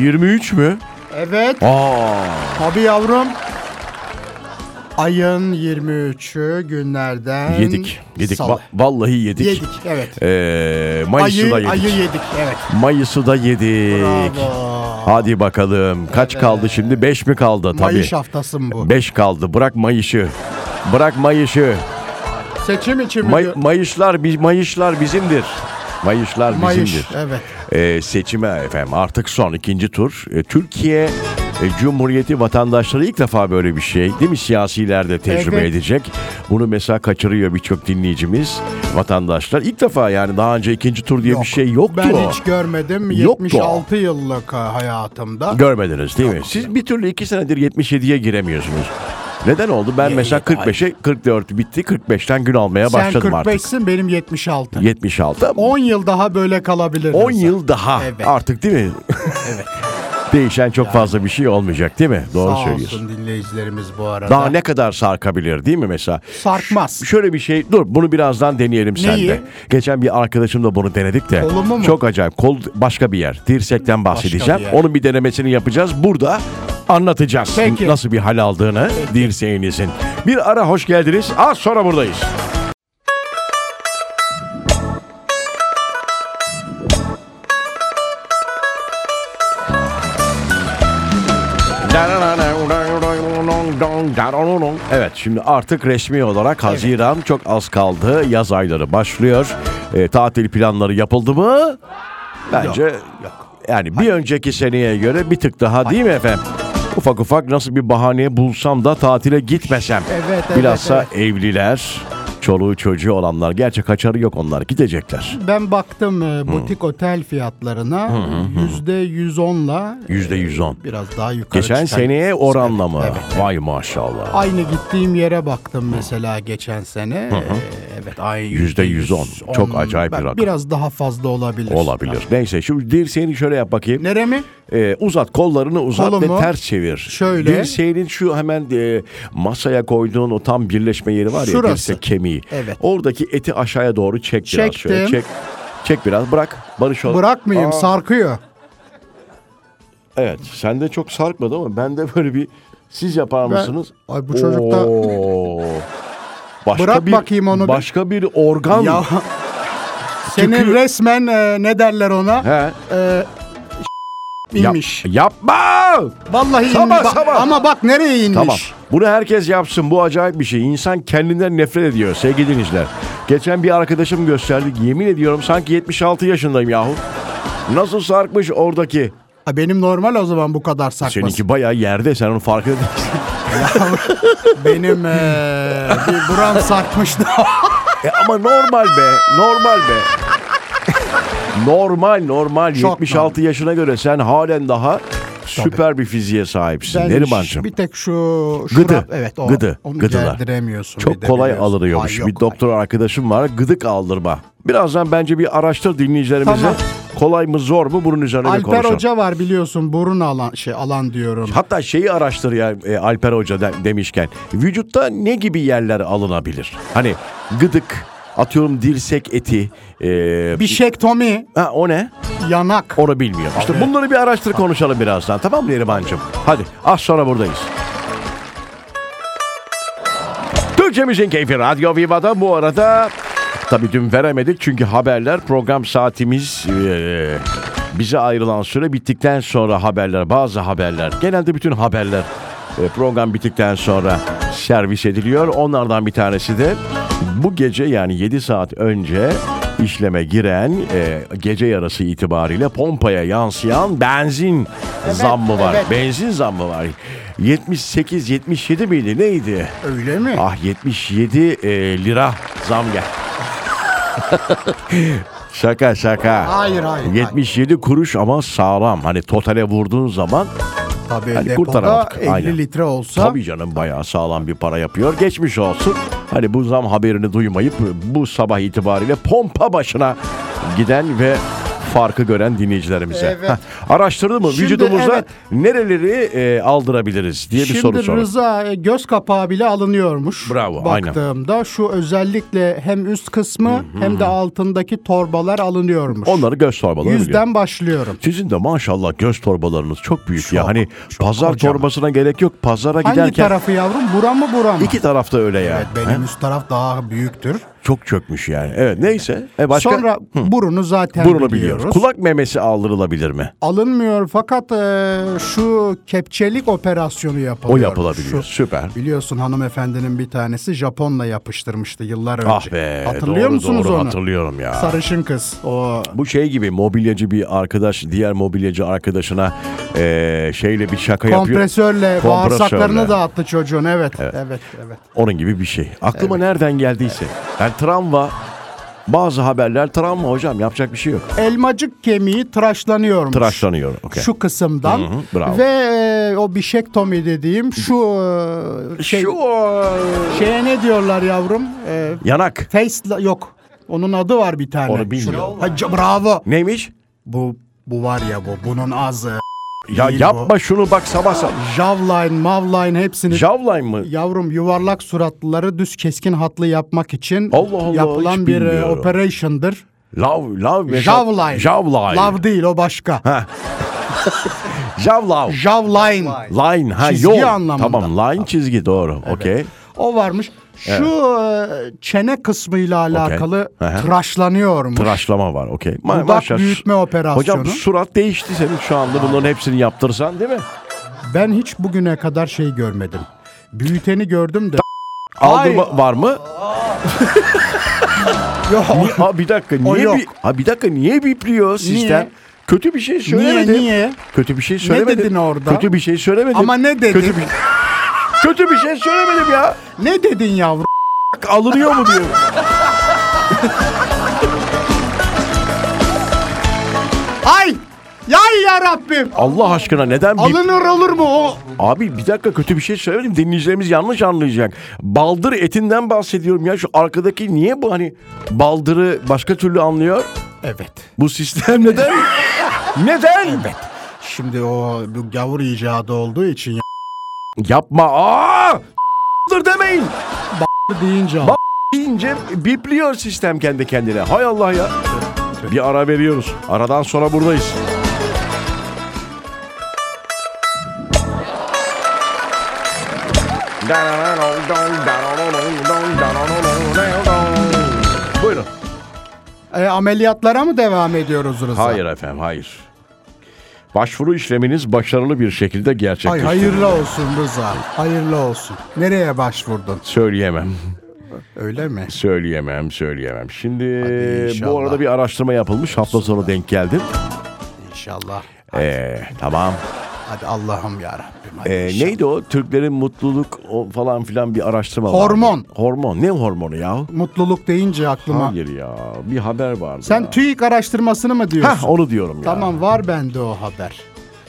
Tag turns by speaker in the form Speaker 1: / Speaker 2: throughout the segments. Speaker 1: 23 mü?
Speaker 2: Evet.
Speaker 1: Aa.
Speaker 2: Tabii yavrum. Ayın 23'ü günlerden
Speaker 1: Yedik. Yedik.
Speaker 2: salı.
Speaker 1: Va- vallahi yedik.
Speaker 2: Hmm, yedik evet.
Speaker 1: Ee, Mayıs'ı
Speaker 2: Ayı,
Speaker 1: da yedik.
Speaker 2: ayı yedik evet.
Speaker 1: Mayıs'ı da yedik.
Speaker 2: Bravo.
Speaker 1: Hadi bakalım. Kaç kaldı şimdi? 5 mi kaldı? Tabii.
Speaker 2: Mayış haftası mı bu?
Speaker 1: 5 kaldı. Bırak Mayış'ı. Bırak Mayış'ı.
Speaker 2: Seçim için mi?
Speaker 1: May-
Speaker 2: diyor?
Speaker 1: mayışlar, bi- mayışlar bizimdir. Mayışlar bizimdir.
Speaker 2: Mayış evet.
Speaker 1: Ee, seçime efendim artık son ikinci tur. Ee, Türkiye e, Cumhuriyeti vatandaşları ilk defa böyle bir şey değil mi siyasiler de tecrübe
Speaker 2: Evet.
Speaker 1: edecek. Bunu mesela kaçırıyor birçok dinleyicimiz vatandaşlar. ilk defa yani daha önce ikinci tur diye
Speaker 2: Yok.
Speaker 1: bir şey yoktu.
Speaker 2: Ben hiç görmedim.
Speaker 1: Yoktu.
Speaker 2: 76 yıllık e, hayatımda.
Speaker 1: Görmediniz değil mi? Siz bir türlü iki senedir 77'ye giremiyorsunuz. Neden oldu? Ben mesela 45'e 44 bitti. 45'ten gün almaya
Speaker 2: Sen
Speaker 1: başladım artık.
Speaker 2: 45'sin benim 76.
Speaker 1: 76.
Speaker 2: 10 yıl daha böyle kalabilirim.
Speaker 1: 10 yıl daha
Speaker 2: Evet.
Speaker 1: artık değil mi? evet. Değişen çok fazla bir şey olmayacak değil mi? Doğru
Speaker 2: Sağ
Speaker 1: söylüyorsun.
Speaker 2: olsun dinleyicilerimiz bu arada.
Speaker 1: Daha ne kadar sarkabilir değil mi mesela?
Speaker 2: Sarkmaz.
Speaker 1: Şöyle bir şey dur bunu birazdan deneyelim
Speaker 2: Neyi?
Speaker 1: sende. Geçen bir arkadaşımla bunu denedik de.
Speaker 2: Kolumu mu?
Speaker 1: Çok acayip. Kol başka bir yer. Dirsekten bahsedeceğim.
Speaker 2: bir yer.
Speaker 1: Onun bir denemesini yapacağız. Burada anlatacağız
Speaker 2: Peki.
Speaker 1: nasıl bir hal aldığını dirseğinizin. Bir ara hoş geldiniz. Az sonra buradayız. Evet şimdi artık resmi olarak Haziran çok az kaldı. Yaz ayları başlıyor. E, tatil planları yapıldı mı? Bence yani bir önceki seneye göre bir tık daha değil mi efendim? Ufak ufak nasıl bir bahane bulsam da tatile gitmesem.
Speaker 2: Evet, evet,
Speaker 1: Bilhassa evliler, çoluğu çocuğu olanlar. Gerçi kaçarı yok onlar gidecekler.
Speaker 2: Ben baktım e, butik otel fiyatlarına yüzde %110'la
Speaker 1: Yüzde yüz on.
Speaker 2: biraz daha yukarı
Speaker 1: Geçen
Speaker 2: çıkan-
Speaker 1: seneye oranla mı?
Speaker 2: Evet, evet.
Speaker 1: Vay maşallah.
Speaker 2: Aynı gittiğim yere baktım mesela geçen sene. Ee, Evet aynı
Speaker 1: Yüzde yüz on. Çok acayip bir
Speaker 2: Bak,
Speaker 1: rakam.
Speaker 2: Biraz daha fazla olabilir.
Speaker 1: Olabilir. Neyse şu dirseğini şöyle yap bakayım.
Speaker 2: Nere mi?
Speaker 1: Ee, uzat kollarını uzat
Speaker 2: Kolumu
Speaker 1: ve ters çevir.
Speaker 2: şöyle.
Speaker 1: Dirseğinin şu hemen e, masaya koyduğun o tam birleşme yeri var ya
Speaker 2: Şurası.
Speaker 1: dirsek kemiği.
Speaker 2: Evet.
Speaker 1: Oradaki eti aşağıya doğru çek biraz şöyle.
Speaker 2: Çektim.
Speaker 1: Çek. Çek biraz bırak. Barış ol.
Speaker 2: Bırakmayayım
Speaker 1: Aa,
Speaker 2: sarkıyor.
Speaker 1: Evet. Sende çok sarkmadı ama bende böyle bir siz yapar mısınız?
Speaker 2: Ay bu çocuk da-
Speaker 1: Oo. Başka
Speaker 2: Bırak
Speaker 1: bir,
Speaker 2: bakayım onu bir-
Speaker 1: Başka bir organ.
Speaker 2: Ya senin
Speaker 1: Tükür-
Speaker 2: resmen e, ne derler ona?
Speaker 1: He.
Speaker 2: E,
Speaker 1: Yap-
Speaker 2: inmiş.
Speaker 1: yapma.
Speaker 2: Vallahi inmiş.
Speaker 1: Sabah,
Speaker 2: Bak-
Speaker 1: sabah.
Speaker 2: Ama bak nereye inmiş?
Speaker 1: Tamam. Bunu herkes yapsın. Bu acayip bir şey. İnsan kendinden nefret ediyor sevgili dinleyiciler. Geçen bir arkadaşım gösterdi. Yemin ediyorum sanki 76 yaşındayım yahu. Nasıl sarkmış oradaki?
Speaker 2: Ha, Benim normal o zaman bu kadar sarkması.
Speaker 1: Seninki bayağı yerde. Sen onun farkında değilsin.
Speaker 2: Benim e, bir buram sarkmıştı.
Speaker 1: E ama normal be. Normal be. normal normal.
Speaker 2: Çok
Speaker 1: 76 yaşına göre sen halen daha süper bir fiziğe sahipsin.
Speaker 2: Ben
Speaker 1: Nerimancığım.
Speaker 2: Bir tek şu, şu
Speaker 1: Gıdı.
Speaker 2: rab- evet o.
Speaker 1: Gıdı.
Speaker 2: Onu
Speaker 1: Gıdılar.
Speaker 2: gerdiremiyorsun. bir
Speaker 1: Çok
Speaker 2: de
Speaker 1: kolay
Speaker 2: biliyorsun. Ay,
Speaker 1: alınıyormuş.
Speaker 2: yok,
Speaker 1: Bir doktor arkadaşım var. Gıdık aldırma. Birazdan bence bir araştır dinleyicilerimize.
Speaker 2: Tamam.
Speaker 1: Kolay mı zor mu bunun üzerine bir
Speaker 2: Alper
Speaker 1: konuşalım.
Speaker 2: Hoca var biliyorsun burun alan şey alan diyorum.
Speaker 1: Hatta şeyi araştır ya e, Alper Hoca de- demişken. Vücutta ne gibi yerler alınabilir? Hani gıdık, atıyorum dirsek eti. e,
Speaker 2: Bişektomi,
Speaker 1: ha, o ne?
Speaker 2: yanak.
Speaker 1: Onu bilmiyorum. İşte bunları bir araştır konuşalım birazdan. Tamam mı Neriman'cığım? Hadi az sonra buradayız. Türkçemizin keyfi Radyo Viva'da bu arada tabii dün veremedik çünkü haberler program saatimiz eee, bize ayrılan süre bittikten sonra haberler bazı haberler genelde bütün haberler e, program bittikten sonra servis ediliyor. Onlardan bir tanesi de bu gece yani 7 saat önce işleme giren e, gece yarısı itibariyle pompaya yansıyan benzin zammı var.
Speaker 2: evet.
Speaker 1: Benzin zammı var. 78 77 miydi neydi?
Speaker 2: Öyle mi?
Speaker 1: Ah 77 e, lira zam gel. şaka şaka.
Speaker 2: Hayır, hayır, hayır.
Speaker 1: 77 kuruş ama sağlam. Hani totale vurduğun zaman
Speaker 2: Tabii
Speaker 1: hani
Speaker 2: depoda
Speaker 1: kurtaramadık,
Speaker 2: 50
Speaker 1: aynen.
Speaker 2: litre olsa
Speaker 1: tabii canım bayağı sağlam bir para yapıyor. Geçmiş olsun. Hani bu zam haberini duymayıp bu sabah itibariyle pompa başına giden ve farkı gören dinleyicilerimize.
Speaker 2: Evet.
Speaker 1: Heh, Araştırdı mı
Speaker 2: Şimdi
Speaker 1: vücudumuza
Speaker 2: evet.
Speaker 1: nereleri e, aldırabiliriz diye bir
Speaker 2: Şimdi
Speaker 1: soru sorun.
Speaker 2: Rıza e, göz kapağı bile alınıyormuş.
Speaker 1: Bravo, aynen.
Speaker 2: Baktığımda şu özellikle hem üst kısmı hem de altındaki torbalar alınıyormuş.
Speaker 1: Onları göz torbaları biliyor.
Speaker 2: Yüzden başlıyorum.
Speaker 1: Sizin de maşallah göz torbalarınız çok büyük ya. Hani pazar
Speaker 3: kocaman.
Speaker 1: torbasına gerek yok. Pazara
Speaker 2: Hangi
Speaker 1: giderken
Speaker 2: tarafı yavrum? Bura mı bura mı?
Speaker 1: iki tarafta öyle ya.
Speaker 2: Evet, benim üst taraf daha büyüktür.
Speaker 1: Çok çökmüş yani. Evet neyse. E başka
Speaker 2: Sonra burunu zaten
Speaker 1: burnu
Speaker 2: biliyoruz.
Speaker 1: biliyoruz. Kulak memesi aldırılabilir mi?
Speaker 2: Alınmıyor fakat e, şu kepçelik operasyonu
Speaker 1: O
Speaker 2: yapılıyor.
Speaker 1: yapılabiliyor.
Speaker 2: Şu-
Speaker 1: Süper.
Speaker 2: biliyorsun hanımefendinin bir tanesi Japon'la yapıştırmıştı yıllar önce.
Speaker 1: Ah be.
Speaker 2: şey. Hatırlıyor
Speaker 1: doğru,
Speaker 2: musunuz
Speaker 1: doğru,
Speaker 2: onu?
Speaker 1: Hatırlıyorum ya.
Speaker 2: Sarışın kız. O
Speaker 1: Bu şey gibi mobilyacı bir arkadaş diğer mobilyacı arkadaşına eee, şeyle bir şaka yapıyor.
Speaker 2: kompresörle
Speaker 1: Kompresörle.
Speaker 2: bağırsaklarını dağıttı çocuğun. Evet. Evet, evet.
Speaker 1: Onun gibi bir şey. Aklıma nereden geldiyse. Yani travma bazı haberler travma hocam yapacak bir şey yok.
Speaker 2: Elmacık kemiği tıraşlanıyormuş.
Speaker 1: Tıraşlanıyor. okey.
Speaker 2: Şu kısımdan
Speaker 1: hı, bravo.
Speaker 2: ve e, o bişektomi dediğim şu e, şey,
Speaker 1: Şu
Speaker 2: şeye ne diyorlar yavrum? E,
Speaker 1: yanak.
Speaker 2: Face yok. Onun adı var bir tane.
Speaker 1: Onu bilmiyorum.
Speaker 2: Şu- Ha, c- bravo.
Speaker 1: Neymiş?
Speaker 2: Bu bu var ya bu. Bunun ağzı.
Speaker 1: Ya
Speaker 2: Değil
Speaker 1: yapma şunu bak sabah sabah.
Speaker 2: Javline, mavline hepsini
Speaker 1: Javline mı?
Speaker 2: yavrum yuvarlak suratlıları düz keskin hatlı yapmak için
Speaker 1: Allah Allah, hiç
Speaker 2: yapılan bir e,
Speaker 1: bilmiyorum.
Speaker 2: operation'dır.
Speaker 1: Love, love. ve-
Speaker 2: Javline.
Speaker 1: Javline.
Speaker 2: Lav değil o başka.
Speaker 1: Javlav.
Speaker 2: Javline.
Speaker 1: Line. Ha,
Speaker 2: Çizgi
Speaker 1: yol.
Speaker 2: anlamında.
Speaker 1: Tamam line çizgi doğru. Okey.
Speaker 2: O varmış. Şu e, çene kısmıyla alakalı
Speaker 1: Aha.
Speaker 2: tıraşlanıyormuş.
Speaker 1: Tıraşlama var okey. Ma-
Speaker 2: Dudak
Speaker 1: maşallah.
Speaker 2: büyütme operasyonu.
Speaker 1: Hocam surat değişti senin şu anda bunların hepsini yaptırsan değil mi?
Speaker 2: Ben hiç bugüne kadar şey görmedim. Büyüteni gördüm de.
Speaker 1: Aldırma var mı?
Speaker 2: Yok.
Speaker 1: Ni- Ha bir dakika
Speaker 2: O
Speaker 1: niye
Speaker 2: yok.
Speaker 1: bi- ha bir dakika niye bipliyor sistem?
Speaker 2: Niye?
Speaker 1: Kötü bir şey söylemedin.
Speaker 2: niye?
Speaker 1: Kötü bir şey söylemedin.
Speaker 2: dedin orada?
Speaker 1: Kötü bir şey söylemedim.
Speaker 2: Ama ne dedin?
Speaker 1: Kötü bir, kötü bir şey söylemedim ya.
Speaker 2: Ne dedin yavrum?
Speaker 1: Alınıyor mu diyor.
Speaker 2: Ay! Yay ya Rabbim!
Speaker 1: Allah aşkına neden bip-
Speaker 2: Alınır olur mu o?
Speaker 1: Abi bir dakika kötü bir şey söylemedim. Dinleyicilerimiz yanlış anlayacak. Baldır etinden bahsediyorum ya. Şu arkadaki niye bu hani baldırı başka türlü anlıyor?
Speaker 2: Evet.
Speaker 1: Bu sistem neden? neden?
Speaker 2: Şimdi o bu gavur icadı olduğu için ya.
Speaker 1: Yapma. Aa! Dur demeyin.
Speaker 2: deyince
Speaker 1: Bak- İnce bipliyor sistem kendi kendine. Hay Allah ya. Bir ara veriyoruz. Aradan sonra buradayız. Buyurun.
Speaker 2: E, ameliyatlara mı devam ediyoruz Rıza?
Speaker 1: Hayır efendim, hayır. Başvuru işleminiz başarılı bir şekilde
Speaker 2: Ay,
Speaker 1: gerçekleşti.
Speaker 2: hayırlı olsun Rıza. Hayırlı olsun. Nereye başvurdun?
Speaker 1: Söyleyemem.
Speaker 2: Öyle mi?
Speaker 1: Söyleyemem, söyleyemem. Şimdi
Speaker 2: Hadi inşallah.
Speaker 1: bu arada bir araştırma yapılmış. Hafta sonu denk geldim.
Speaker 2: İnşallah.
Speaker 1: Ee, tamam.
Speaker 2: Hadi Allah'ım ya Rabbim. Hadi şey.
Speaker 1: Ee,
Speaker 2: inşallah.
Speaker 1: neydi o? Türklerin mutluluk o falan filan bir araştırma var.
Speaker 2: Hormon.
Speaker 1: Hormon. Ne hormonu ya?
Speaker 2: Mutluluk deyince aklıma.
Speaker 1: Hayır ya. Bir haber vardı.
Speaker 2: Sen
Speaker 1: ya.
Speaker 2: TÜİK araştırmasını mı diyorsun?
Speaker 1: Hah, onu diyorum ya.
Speaker 2: Tamam var bende o haber.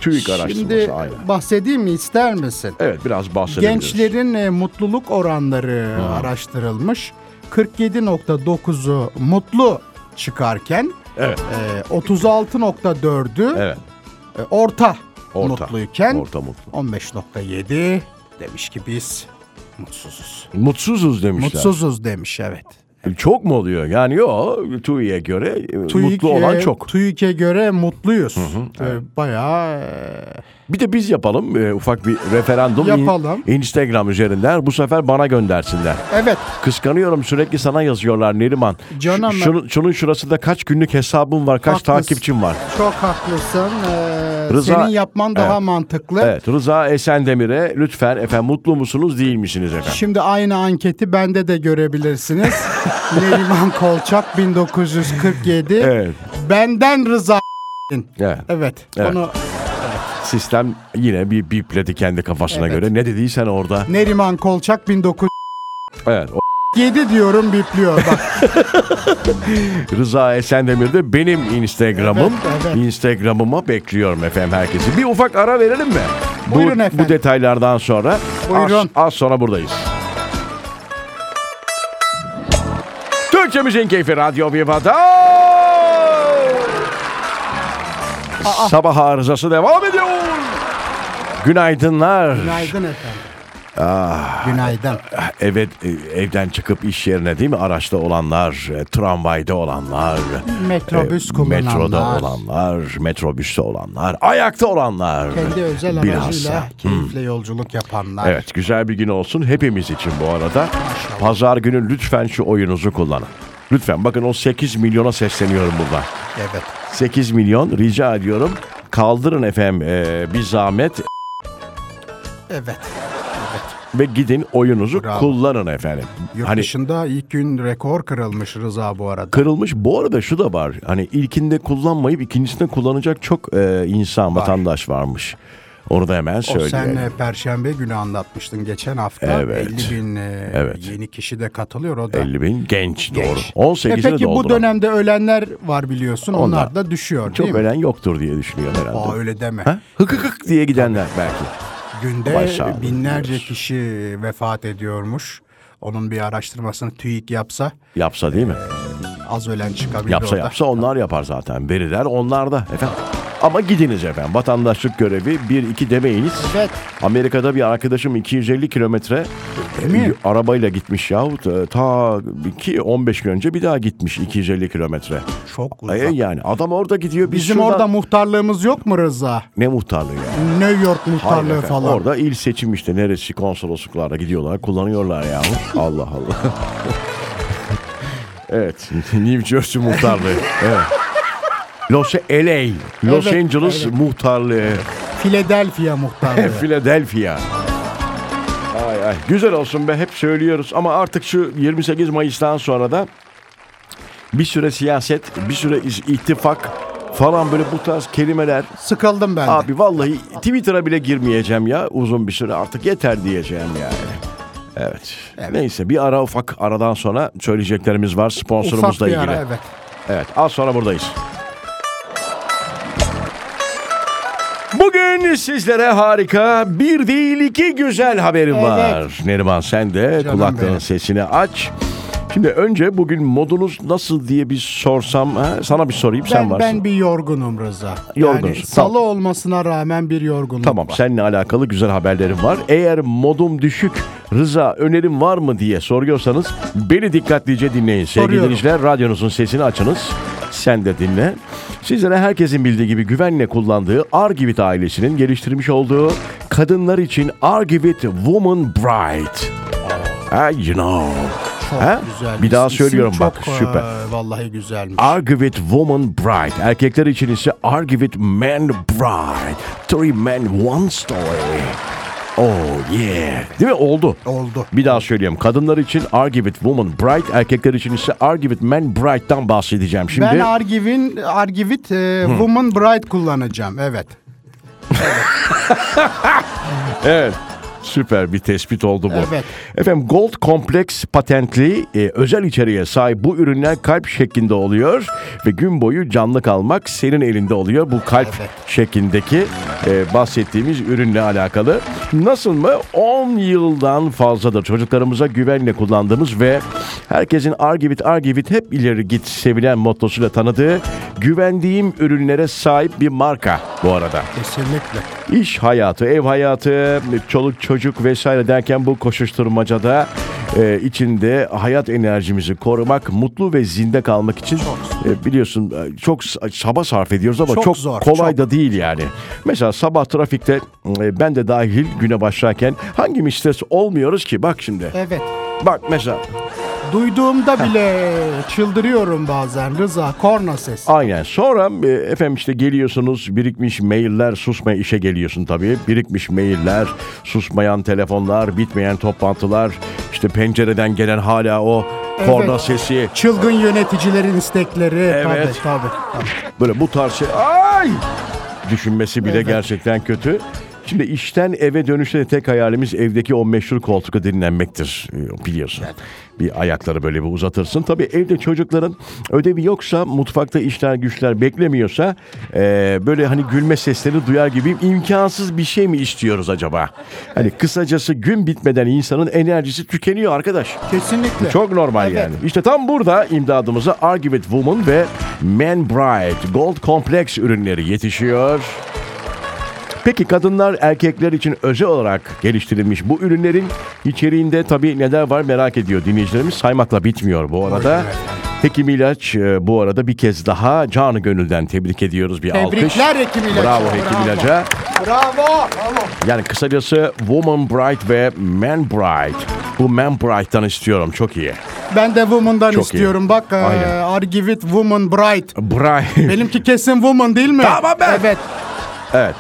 Speaker 1: TÜİK araştırması
Speaker 2: Şimdi
Speaker 1: aynen.
Speaker 2: bahsedeyim mi ister misin?
Speaker 1: Evet biraz bahsedebiliriz.
Speaker 2: Gençlerin e, mutluluk oranları araştırılmış. 47.9'u mutlu çıkarken
Speaker 1: Evet.
Speaker 2: e, 36.4'ü
Speaker 1: Evet.
Speaker 2: e, orta,
Speaker 1: Orta.
Speaker 2: mutluyken
Speaker 1: Orta mutlu.
Speaker 2: 15.7 demiş ki biz mutsuzuz.
Speaker 1: Mutsuzuz demişler.
Speaker 2: Mutsuzuz demiş evet.
Speaker 1: Çok mu oluyor? Yani yok. TÜİK'e göre e,
Speaker 2: TÜİK,
Speaker 1: mutlu olan
Speaker 2: e,
Speaker 1: çok.
Speaker 2: TÜİK'e göre mutluyuz. E, Bayağı e,
Speaker 1: Bir de biz yapalım e, ufak bir referandum.
Speaker 2: Yapalım.
Speaker 1: İn- Instagram üzerinden bu sefer bana göndersinler.
Speaker 2: evet
Speaker 1: Kıskanıyorum sürekli sana yazıyorlar Neriman.
Speaker 2: Canım.
Speaker 1: Ş- şunun, şunun şurasında kaç günlük hesabın var, kaç
Speaker 2: Haklısın.
Speaker 1: takipçin var.
Speaker 2: çok haklısın. E,
Speaker 1: Rıza-
Speaker 2: senin yapman daha
Speaker 1: Evet.
Speaker 2: mantıklı.
Speaker 1: Evet Rıza Esendemir'e lütfen efendim mutlu musunuz değil misiniz efendim?
Speaker 2: Şimdi aynı anketi bende de görebilirsiniz. Neriman Kolçak 1947.
Speaker 1: Evet.
Speaker 2: Benden Rıza.
Speaker 1: Evet.
Speaker 2: Evet.
Speaker 1: Evet.
Speaker 2: Onu
Speaker 1: Sistem yine bir bipledi kendi kafasına
Speaker 2: Evet.
Speaker 1: göre. Ne dediysen orada.
Speaker 2: Neriman Kolçak 1947
Speaker 1: Evet. o-
Speaker 2: diyorum bipliyor. Bak
Speaker 1: Rıza Esendemir de benim Instagram'ım.
Speaker 2: Evet, evet.
Speaker 1: Instagram'ıma bekliyorum efendim herkesi. Bir ufak ara verelim mi? Bu-
Speaker 2: Buyurun
Speaker 1: bu,
Speaker 2: efendim.
Speaker 1: detaylardan sonra az,
Speaker 2: Buyurun.
Speaker 1: az sonra buradayız. Türkçemizin keyfi Radyo Viva'da. Sabah arızası devam ediyor. Günaydınlar.
Speaker 2: Günaydın efendim.
Speaker 1: Ah.
Speaker 2: Günaydın.
Speaker 1: Evet e, evden çıkıp iş yerine değil mi araçta olanlar, e, tramvayda olanlar,
Speaker 2: Metrobüs
Speaker 1: e,
Speaker 2: kullananlar.
Speaker 1: metroda olanlar, metrobüste olanlar, ayakta olanlar.
Speaker 2: Kendi özel
Speaker 1: Bilhassa. Hmm.
Speaker 2: aracıyla keyifle yolculuk yapanlar.
Speaker 1: Evet güzel bir gün olsun hepimiz için bu arada. Pazar günü lütfen şu oyunuzu kullanın. Lütfen bakın o 8 milyona sesleniyorum burada.
Speaker 2: Evet.
Speaker 1: 8 milyon rica ediyorum. Kaldırın efendim e, bir zahmet
Speaker 2: Evet.
Speaker 1: ve gidin oyunuzu
Speaker 2: Bravo.
Speaker 1: kullanın efendim.
Speaker 2: Yurt
Speaker 1: hani
Speaker 2: dışında ilk gün rekor kırılmış Rıza bu arada.
Speaker 1: kırılmış bu arada şu da var. Hani ilkinde kullanmayıp ikincisinde kullanacak çok e, insan, vatandaş varmış. Onu da hemen
Speaker 2: O
Speaker 1: söyleyeyim.
Speaker 2: sen e, perşembe günü anlatmıştın geçen hafta.
Speaker 1: Evet.
Speaker 2: 50 bin e,
Speaker 1: Evet.
Speaker 2: yeni kişi de katılıyor o da.
Speaker 1: 50 bin genç,
Speaker 2: genç.
Speaker 1: doğru. 18'ini
Speaker 2: e peki bu
Speaker 1: dolduran.
Speaker 2: dönemde ölenler var biliyorsun. Onlar,
Speaker 1: Onlar.
Speaker 2: da düşüyor
Speaker 1: çok
Speaker 2: değil mi?
Speaker 1: ölen yoktur diye düşünüyorum herhalde.
Speaker 2: Aa öyle deme.
Speaker 1: Ha? Hık hık hık diye gidenler belki.
Speaker 2: Günde
Speaker 1: Baş sağlığı
Speaker 2: binlerce
Speaker 1: diliyoruz.
Speaker 2: kişi vefat ediyormuş. Onun bir araştırmasını TÜİK yapsa
Speaker 1: Yapsa değil mi?
Speaker 2: az ölen çıkabilir
Speaker 1: Yapsa
Speaker 2: orada.
Speaker 1: yapsa onlar yapar zaten. Veriler onlarda efendim. Ama gidiniz efendim. Vatandaşlık görevi 1-2 demeyiniz.
Speaker 2: Evet.
Speaker 1: Amerika'da bir arkadaşım 250 kilometre
Speaker 2: Değil mi?
Speaker 1: e, arabayla gitmiş yahut e, ta ki 15 gün önce bir daha gitmiş 250 kilometre.
Speaker 2: Çok uzak.
Speaker 1: E, yani adam orada gidiyor. Biz
Speaker 2: Bizim
Speaker 1: şuradan-
Speaker 2: orada muhtarlığımız yok mu Rıza?
Speaker 1: ne muhtarlığı ya?
Speaker 2: New York
Speaker 1: Hayır
Speaker 2: muhtarlığı
Speaker 1: efendim,
Speaker 2: falan.
Speaker 1: Orada il seçim işte neresi konsolosluklarda gidiyorlar kullanıyorlar ya. Allah Allah. evet. New Jersey muhtarlığı. Evet. Los LA, Los
Speaker 2: Evet,
Speaker 1: Angeles muhtarlığı,
Speaker 2: Philadelphia muhtarlığı.
Speaker 1: Philadelphia. Ay ay güzel olsun be hep söylüyoruz ama artık şu 28 Mayıs'tan sonra da bir süre siyaset, bir süre iz- ittifak falan böyle bu tarz kelimeler
Speaker 2: Sıkıldım ben de.
Speaker 1: Abi vallahi Twitter'a bile girmeyeceğim ya uzun bir süre artık yeter diyeceğim yani. Evet. Neyse bir ara ufak aradan sonra söyleyeceklerimiz var
Speaker 2: Ufak
Speaker 1: sponsorumuzla
Speaker 2: bir
Speaker 1: ilgili.
Speaker 2: ara evet.
Speaker 1: Evet az sonra buradayız. Bugün sizlere harika bir değil iki güzel haberim
Speaker 2: Evet.
Speaker 1: var. Neriman sen de
Speaker 2: Canım
Speaker 1: kulakların
Speaker 2: benim.
Speaker 1: sesini aç. Şimdi önce bugün modunuz nasıl diye bir sorsam ha? sana bir sorayım sen
Speaker 2: Ben,
Speaker 1: varsın.
Speaker 2: ben bir yorgunum Rıza.
Speaker 1: Yorgunsun,
Speaker 2: Yani salı
Speaker 1: tamam.
Speaker 2: olmasına rağmen bir yorgunluk
Speaker 1: Tamam
Speaker 2: var.
Speaker 1: seninle alakalı güzel haberlerim var. Eğer modum düşük Rıza önerim var mı diye soruyorsanız beni dikkatlice dinleyin. Sevgili
Speaker 2: Soruyorum.
Speaker 1: dinleyiciler radyonuzun sesini açınız. Sen de dinle. Sizlere herkesin bildiği gibi güvenle kullandığı Argivit ailesinin geliştirmiş olduğu kadınlar için Argivit Woman Bright. Ha, you know.
Speaker 2: Çok
Speaker 1: Ha?
Speaker 2: güzel.
Speaker 1: Bir daha
Speaker 2: İsim
Speaker 1: söylüyorum
Speaker 2: çok,
Speaker 1: bak süper.
Speaker 2: e, vallahi güzelmiş.
Speaker 1: Argivit Woman Bride. Erkekler için ise Argivit Man Bride. Three men one story. Oh yeah. Değil mi? Oldu.
Speaker 2: Oldu.
Speaker 1: Bir daha söyleyeyim. Kadınlar için Argivit Woman Bride. Erkekler için ise Argivit Man Bride'dan bahsedeceğim şimdi.
Speaker 2: Ben Argivin, Argivit e, Woman Bright kullanacağım. Evet.
Speaker 1: Evet. Süper bir tespit oldu bu.
Speaker 2: Evet.
Speaker 1: Efendim Gold Complex patentli e, özel içeriğe sahip bu ürünler kalp şeklinde oluyor ve gün boyu canlı kalmak senin elinde oluyor. Bu kalp
Speaker 2: Evet.
Speaker 1: şeklindeki e, bahsettiğimiz ürünle alakalı. Nasıl mı? 10 yıldan fazladır çocuklarımıza güvenle kullandığımız ve herkesin Argivit Argivit hep ileri git sevilen mottosuyla tanıdığı güvendiğim ürünlere sahip bir marka bu arada.
Speaker 2: Kesinlikle.
Speaker 1: İş hayatı, ev hayatı, çoluk çocuk vesaire derken bu koşuşturmacada e, içinde hayat enerjimizi korumak, mutlu ve zinde kalmak için e, biliyorsun e, çok s- çaba sarf ediyoruz ama
Speaker 2: Çok
Speaker 1: çok,
Speaker 2: zor,
Speaker 1: kolay
Speaker 2: çok.
Speaker 1: da değil yani. Mesela sabah trafikte e, ben de dahil güne başlarken hangimiz stres olmuyoruz ki? Bak şimdi.
Speaker 2: Evet.
Speaker 1: Bak mesela
Speaker 2: Duyduğumda bile çıldırıyorum bazen Rıza. Korna sesi.
Speaker 1: Aynen. Sonra e, efendim işte geliyorsunuz birikmiş mailler susma işe geliyorsun tabii. Birikmiş mailler, susmayan telefonlar, bitmeyen toplantılar, işte pencereden gelen hala o korna sesi.
Speaker 2: Çılgın yöneticilerin istekleri.
Speaker 1: Evet.
Speaker 2: Tabii, tabii, tabii.
Speaker 1: Böyle bu tarz şey. Ay! Düşünmesi bile gerçekten kötü. Şimdi işten eve dönüşte de tek hayalimiz evdeki o meşhur koltukta dinlenmektir e, biliyorsun. Bir ayakları böyle bir uzatırsın. Tabii evde çocukların ödevi yoksa mutfakta işler güçler beklemiyorsa e, böyle hani gülme sesleri duyar gibiyim. İmkansız bir şey mi istiyoruz acaba? Hani kısacası gün bitmeden insanın enerjisi tükeniyor arkadaş.
Speaker 2: Kesinlikle.
Speaker 1: Çok normal
Speaker 2: Evet.
Speaker 1: yani. İşte tam burada imdadımıza Argue with Woman ve Man Bright Gold Complex ürünleri yetişiyor. Peki kadınlar erkekler için özel olarak geliştirilmiş bu ürünlerin içeriğinde tabii neler var merak ediyor dinleyicilerimiz. Saymakla bitmiyor bu arada. Hekim İlaç e, bu arada bir kez daha canı gönülden tebrik ediyoruz bir alkış.
Speaker 2: Tebrikler Hekim İlaç'a,
Speaker 1: Bravo Hekim
Speaker 2: bravo.
Speaker 1: İlaç'a.
Speaker 2: Bravo.
Speaker 1: Yani kısacası Woman Bright ve Man Bright. Bu Man Bright'tan istiyorum çok iyi.
Speaker 2: Ben de Woman'dan
Speaker 1: Çok iyi.
Speaker 2: istiyorum. Bak e,
Speaker 1: Aynen.
Speaker 2: Argue with Woman Bright.
Speaker 1: Bright.
Speaker 2: Benimki kesin Woman değil mi?
Speaker 1: Tamam be.
Speaker 2: Evet.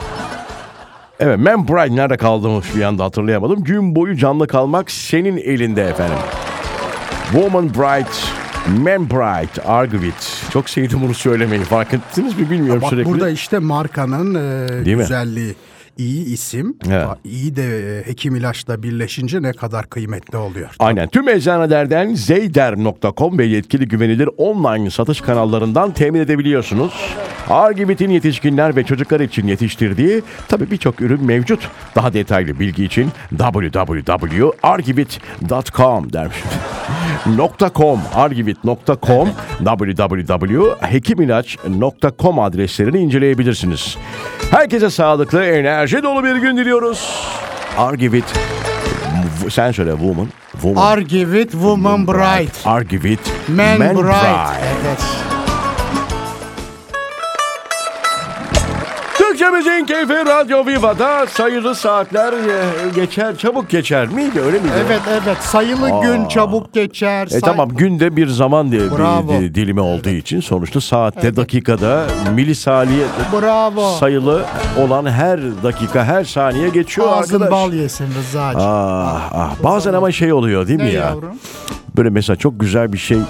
Speaker 1: Evet, Man Bright nerede kaldım bir anda hatırlayamadım. Gün boyu canlı kalmak senin elinde efendim. Woman Bright, Man Bright, Argivit. Çok sevdim bunu söylemeyi. Fark ettiniz mi bilmiyorum
Speaker 2: Bak
Speaker 1: sürekli.
Speaker 2: burada işte markanın e,
Speaker 1: Değil mi?
Speaker 2: güzelliği. iyi isim,
Speaker 1: Evet.
Speaker 2: iyi de e, hekim ilaçla birleşince ne kadar kıymetli oluyor.
Speaker 1: Aynen. Tüm eczanelerden zeyder.com ve yetkili güvenilir online satış kanallarından temin edebiliyorsunuz. Argivit'in yetişkinler ve çocuklar için yetiştirdiği tabii birçok ürün mevcut. Daha detaylı bilgi için www.argivit.com dermiş. .com, argivit.com, www.hekimilaç.com adreslerini inceleyebilirsiniz. Herkese sağlıklı, enerji dolu bir gün diliyoruz. Argivit Bu- sen söyle woman. woman.
Speaker 2: Argue with Woman Bright.
Speaker 1: Argue with
Speaker 2: Man, Bright.
Speaker 1: Bright.
Speaker 2: Evet.
Speaker 1: Türkçe müziğin keyfi Radyo Viva'da sayılı saatler e, geçer. Çabuk geçer miydi öyle miydi?
Speaker 2: Evet evet sayılı gün çabuk geçer.
Speaker 1: E
Speaker 2: Say-
Speaker 1: tamam günde bir zaman diye
Speaker 2: Bravo.
Speaker 1: bir di- dilimi olduğu için sonuçta saatte dakikada milisaniye
Speaker 2: Bravo.
Speaker 1: sayılı olan her dakika her saniye geçiyor
Speaker 2: Ağzın
Speaker 1: arkadaş.
Speaker 2: bal yesin Rıza'cığım.
Speaker 1: Ah, ah. Bazen ama şey oluyor değil
Speaker 2: Ne
Speaker 1: mi ya?
Speaker 2: yavrum?
Speaker 1: Böyle mesela çok güzel bir şey e,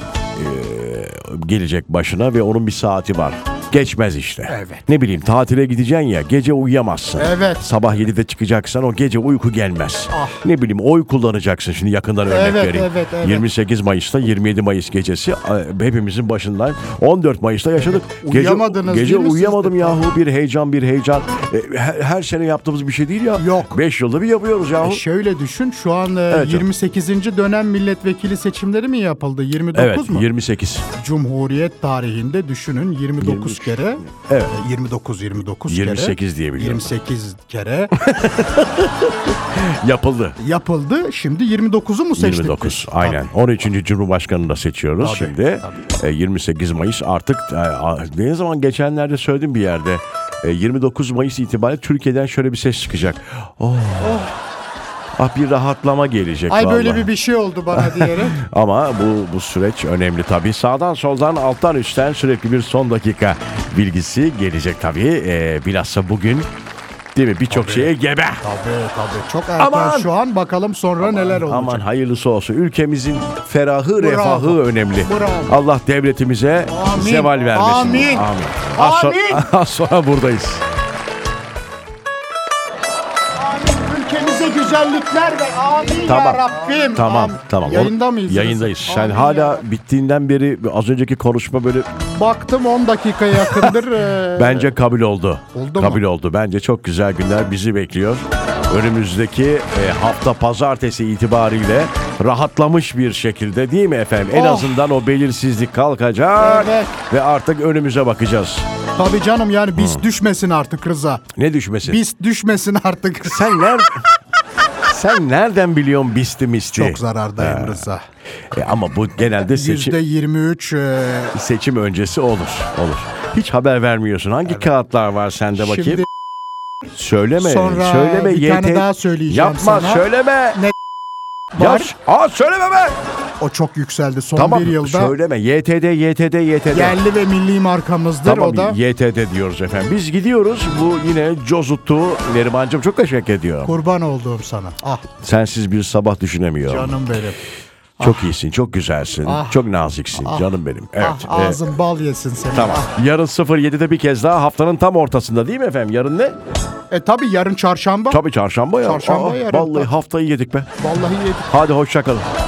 Speaker 1: gelecek başına ve onun bir saati var. Geçmez işte.
Speaker 2: Evet.
Speaker 1: Ne bileyim tatile gideceksin ya gece uyuyamazsın.
Speaker 2: Evet.
Speaker 1: Sabah 7'de çıkacaksan o gece uyku gelmez.
Speaker 2: Ah.
Speaker 1: Ne bileyim oy kullanacaksın şimdi yakından örnek
Speaker 2: Evet,
Speaker 1: vereyim.
Speaker 2: evet, evet.
Speaker 1: 28 Mayıs'ta 27 Mayıs gecesi e, hepimizin başından 14 Mayıs'ta yaşadık.
Speaker 2: Uyuyamadınız
Speaker 1: gece, gece
Speaker 2: değil mi siz de?
Speaker 1: uyuyamadım yahu bir heyecan bir heyecan. E, her, her sene yaptığımız bir şey değil ya.
Speaker 2: Yok.
Speaker 1: 5 yılda bir yapıyoruz yahu.
Speaker 2: E şöyle düşün şu an e,
Speaker 1: Evet canım.
Speaker 2: 28. dönem milletvekili seçimleri mi yapıldı? 29
Speaker 1: evet
Speaker 2: mu?
Speaker 1: 28.
Speaker 2: Cumhuriyet tarihinde düşünün 29
Speaker 1: 23.
Speaker 2: kere.
Speaker 1: Evet.
Speaker 2: e, 29 29
Speaker 1: 28
Speaker 2: kere.
Speaker 1: diye biliyorum.
Speaker 2: 28 kere
Speaker 1: Yapıldı.
Speaker 2: yapıldı. Şimdi 29'u mu seçtik?
Speaker 1: 29
Speaker 2: biz?
Speaker 1: aynen. 13. Cumhurbaşkanını da seçiyoruz
Speaker 2: Tabii,
Speaker 1: şimdi. E, 28 Mayıs artık e, a- ne zaman geçenlerde söyledim bir yerde. e, 29 Mayıs itibariyle Türkiye'den şöyle bir ses çıkacak. Oh. Ah bir rahatlama gelecek
Speaker 2: Ay
Speaker 1: vallahi.
Speaker 2: böyle bir bir şey oldu bana diyerek.
Speaker 1: Ama bu bu süreç önemli tabii. Sağdan soldan alttan üstten sürekli bir son dakika bilgisi gelecek tabii. E, bilhassa bugün değil mi birçok şeye gebe.
Speaker 2: tabii tabii. Çok erken
Speaker 1: Aman!
Speaker 2: şu an. Bakalım sonra neler olacak.
Speaker 1: Aman hayırlısı olsun. Ülkemizin ferahı,
Speaker 2: Bravo.
Speaker 1: refahı önemli.
Speaker 2: Bravo.
Speaker 1: Allah devletimize
Speaker 2: Amin.
Speaker 1: zeval vermesin.
Speaker 2: Amin.
Speaker 1: Az, so-
Speaker 2: Amin.
Speaker 1: az sonra buradayız.
Speaker 2: Ülkemize güzellikler ve amin
Speaker 1: Tamam.
Speaker 2: ya Rabbim.
Speaker 1: Tamam,
Speaker 2: Amin.
Speaker 1: tamam.
Speaker 2: Yayında
Speaker 1: Onu-
Speaker 2: mıyız?
Speaker 1: Yayındayız. Sen
Speaker 2: Amin
Speaker 1: hala
Speaker 2: ya.
Speaker 1: bittiğinden beri az önceki konuşma böyle
Speaker 2: Baktım 10 dakika yakındır. eee,
Speaker 1: bence kabul oldu.
Speaker 2: Oldu mu?
Speaker 1: kabul oldu. Bence çok güzel günler bizi bekliyor. Önümüzdeki e, hafta pazartesi itibariyle rahatlamış bir şekilde değil mi efendim? En
Speaker 2: Oh.
Speaker 1: azından o belirsizlik kalkacak
Speaker 2: Evet.
Speaker 1: ve artık önümüze bakacağız.
Speaker 2: Tabii canım yani biz düşmesin artık Rıza.
Speaker 1: Ne düşmesi?
Speaker 2: Biz düşmesin artık.
Speaker 1: Sen nerede? Sen nereden biliyorsun bisti misti?
Speaker 2: Çok zarardayım Rıza.
Speaker 1: E ama bu genelde seçim,
Speaker 2: Yüzde e, 23 eee,
Speaker 1: seçim öncesi olur. Olur. Hiç haber vermiyorsun. Hangi kağıtlar var sende bakayım?
Speaker 2: şimdi
Speaker 1: söyleme.
Speaker 2: Sonra
Speaker 1: söyleme.
Speaker 2: bir tane
Speaker 1: YT
Speaker 2: daha söyleyeceğim
Speaker 1: Yapma
Speaker 2: sana.
Speaker 1: söyleme.
Speaker 2: Ne
Speaker 1: Ya,
Speaker 2: var?
Speaker 1: aa söyleme be.
Speaker 2: o çok yükseldi son
Speaker 1: Tamam
Speaker 2: bir yılda.
Speaker 1: söyleme. YTD YTD YTD.
Speaker 2: Yerli ve milli markamızdır
Speaker 1: Tamam
Speaker 2: o da.
Speaker 1: YTD diyoruz efendim. Biz gidiyoruz. Bu yine cozuttu. Nerimancığım çok teşekkür ediyorum.
Speaker 2: Kurban olduğum sana. Ah
Speaker 1: Sensiz bir sabah düşünemiyorum.
Speaker 2: canım benim.
Speaker 1: Çok iyisin, çok güzelsin,
Speaker 2: Ah.
Speaker 1: çok naziksin canım benim. Evet.
Speaker 2: ah
Speaker 1: e,
Speaker 2: ağzın bal yesin senin.
Speaker 1: Tamam.
Speaker 2: Ah,
Speaker 1: Yarın 07'de bir kez daha haftanın tam ortasında değil mi efendim? Yarın ne?
Speaker 2: E tabi yarın çarşamba.
Speaker 1: Tabii çarşamba ya.
Speaker 2: Çarşamba yarın.
Speaker 1: Vallahi haftayı yedik be.
Speaker 2: Vallahi yedik.
Speaker 1: Hadi hoşça kalın.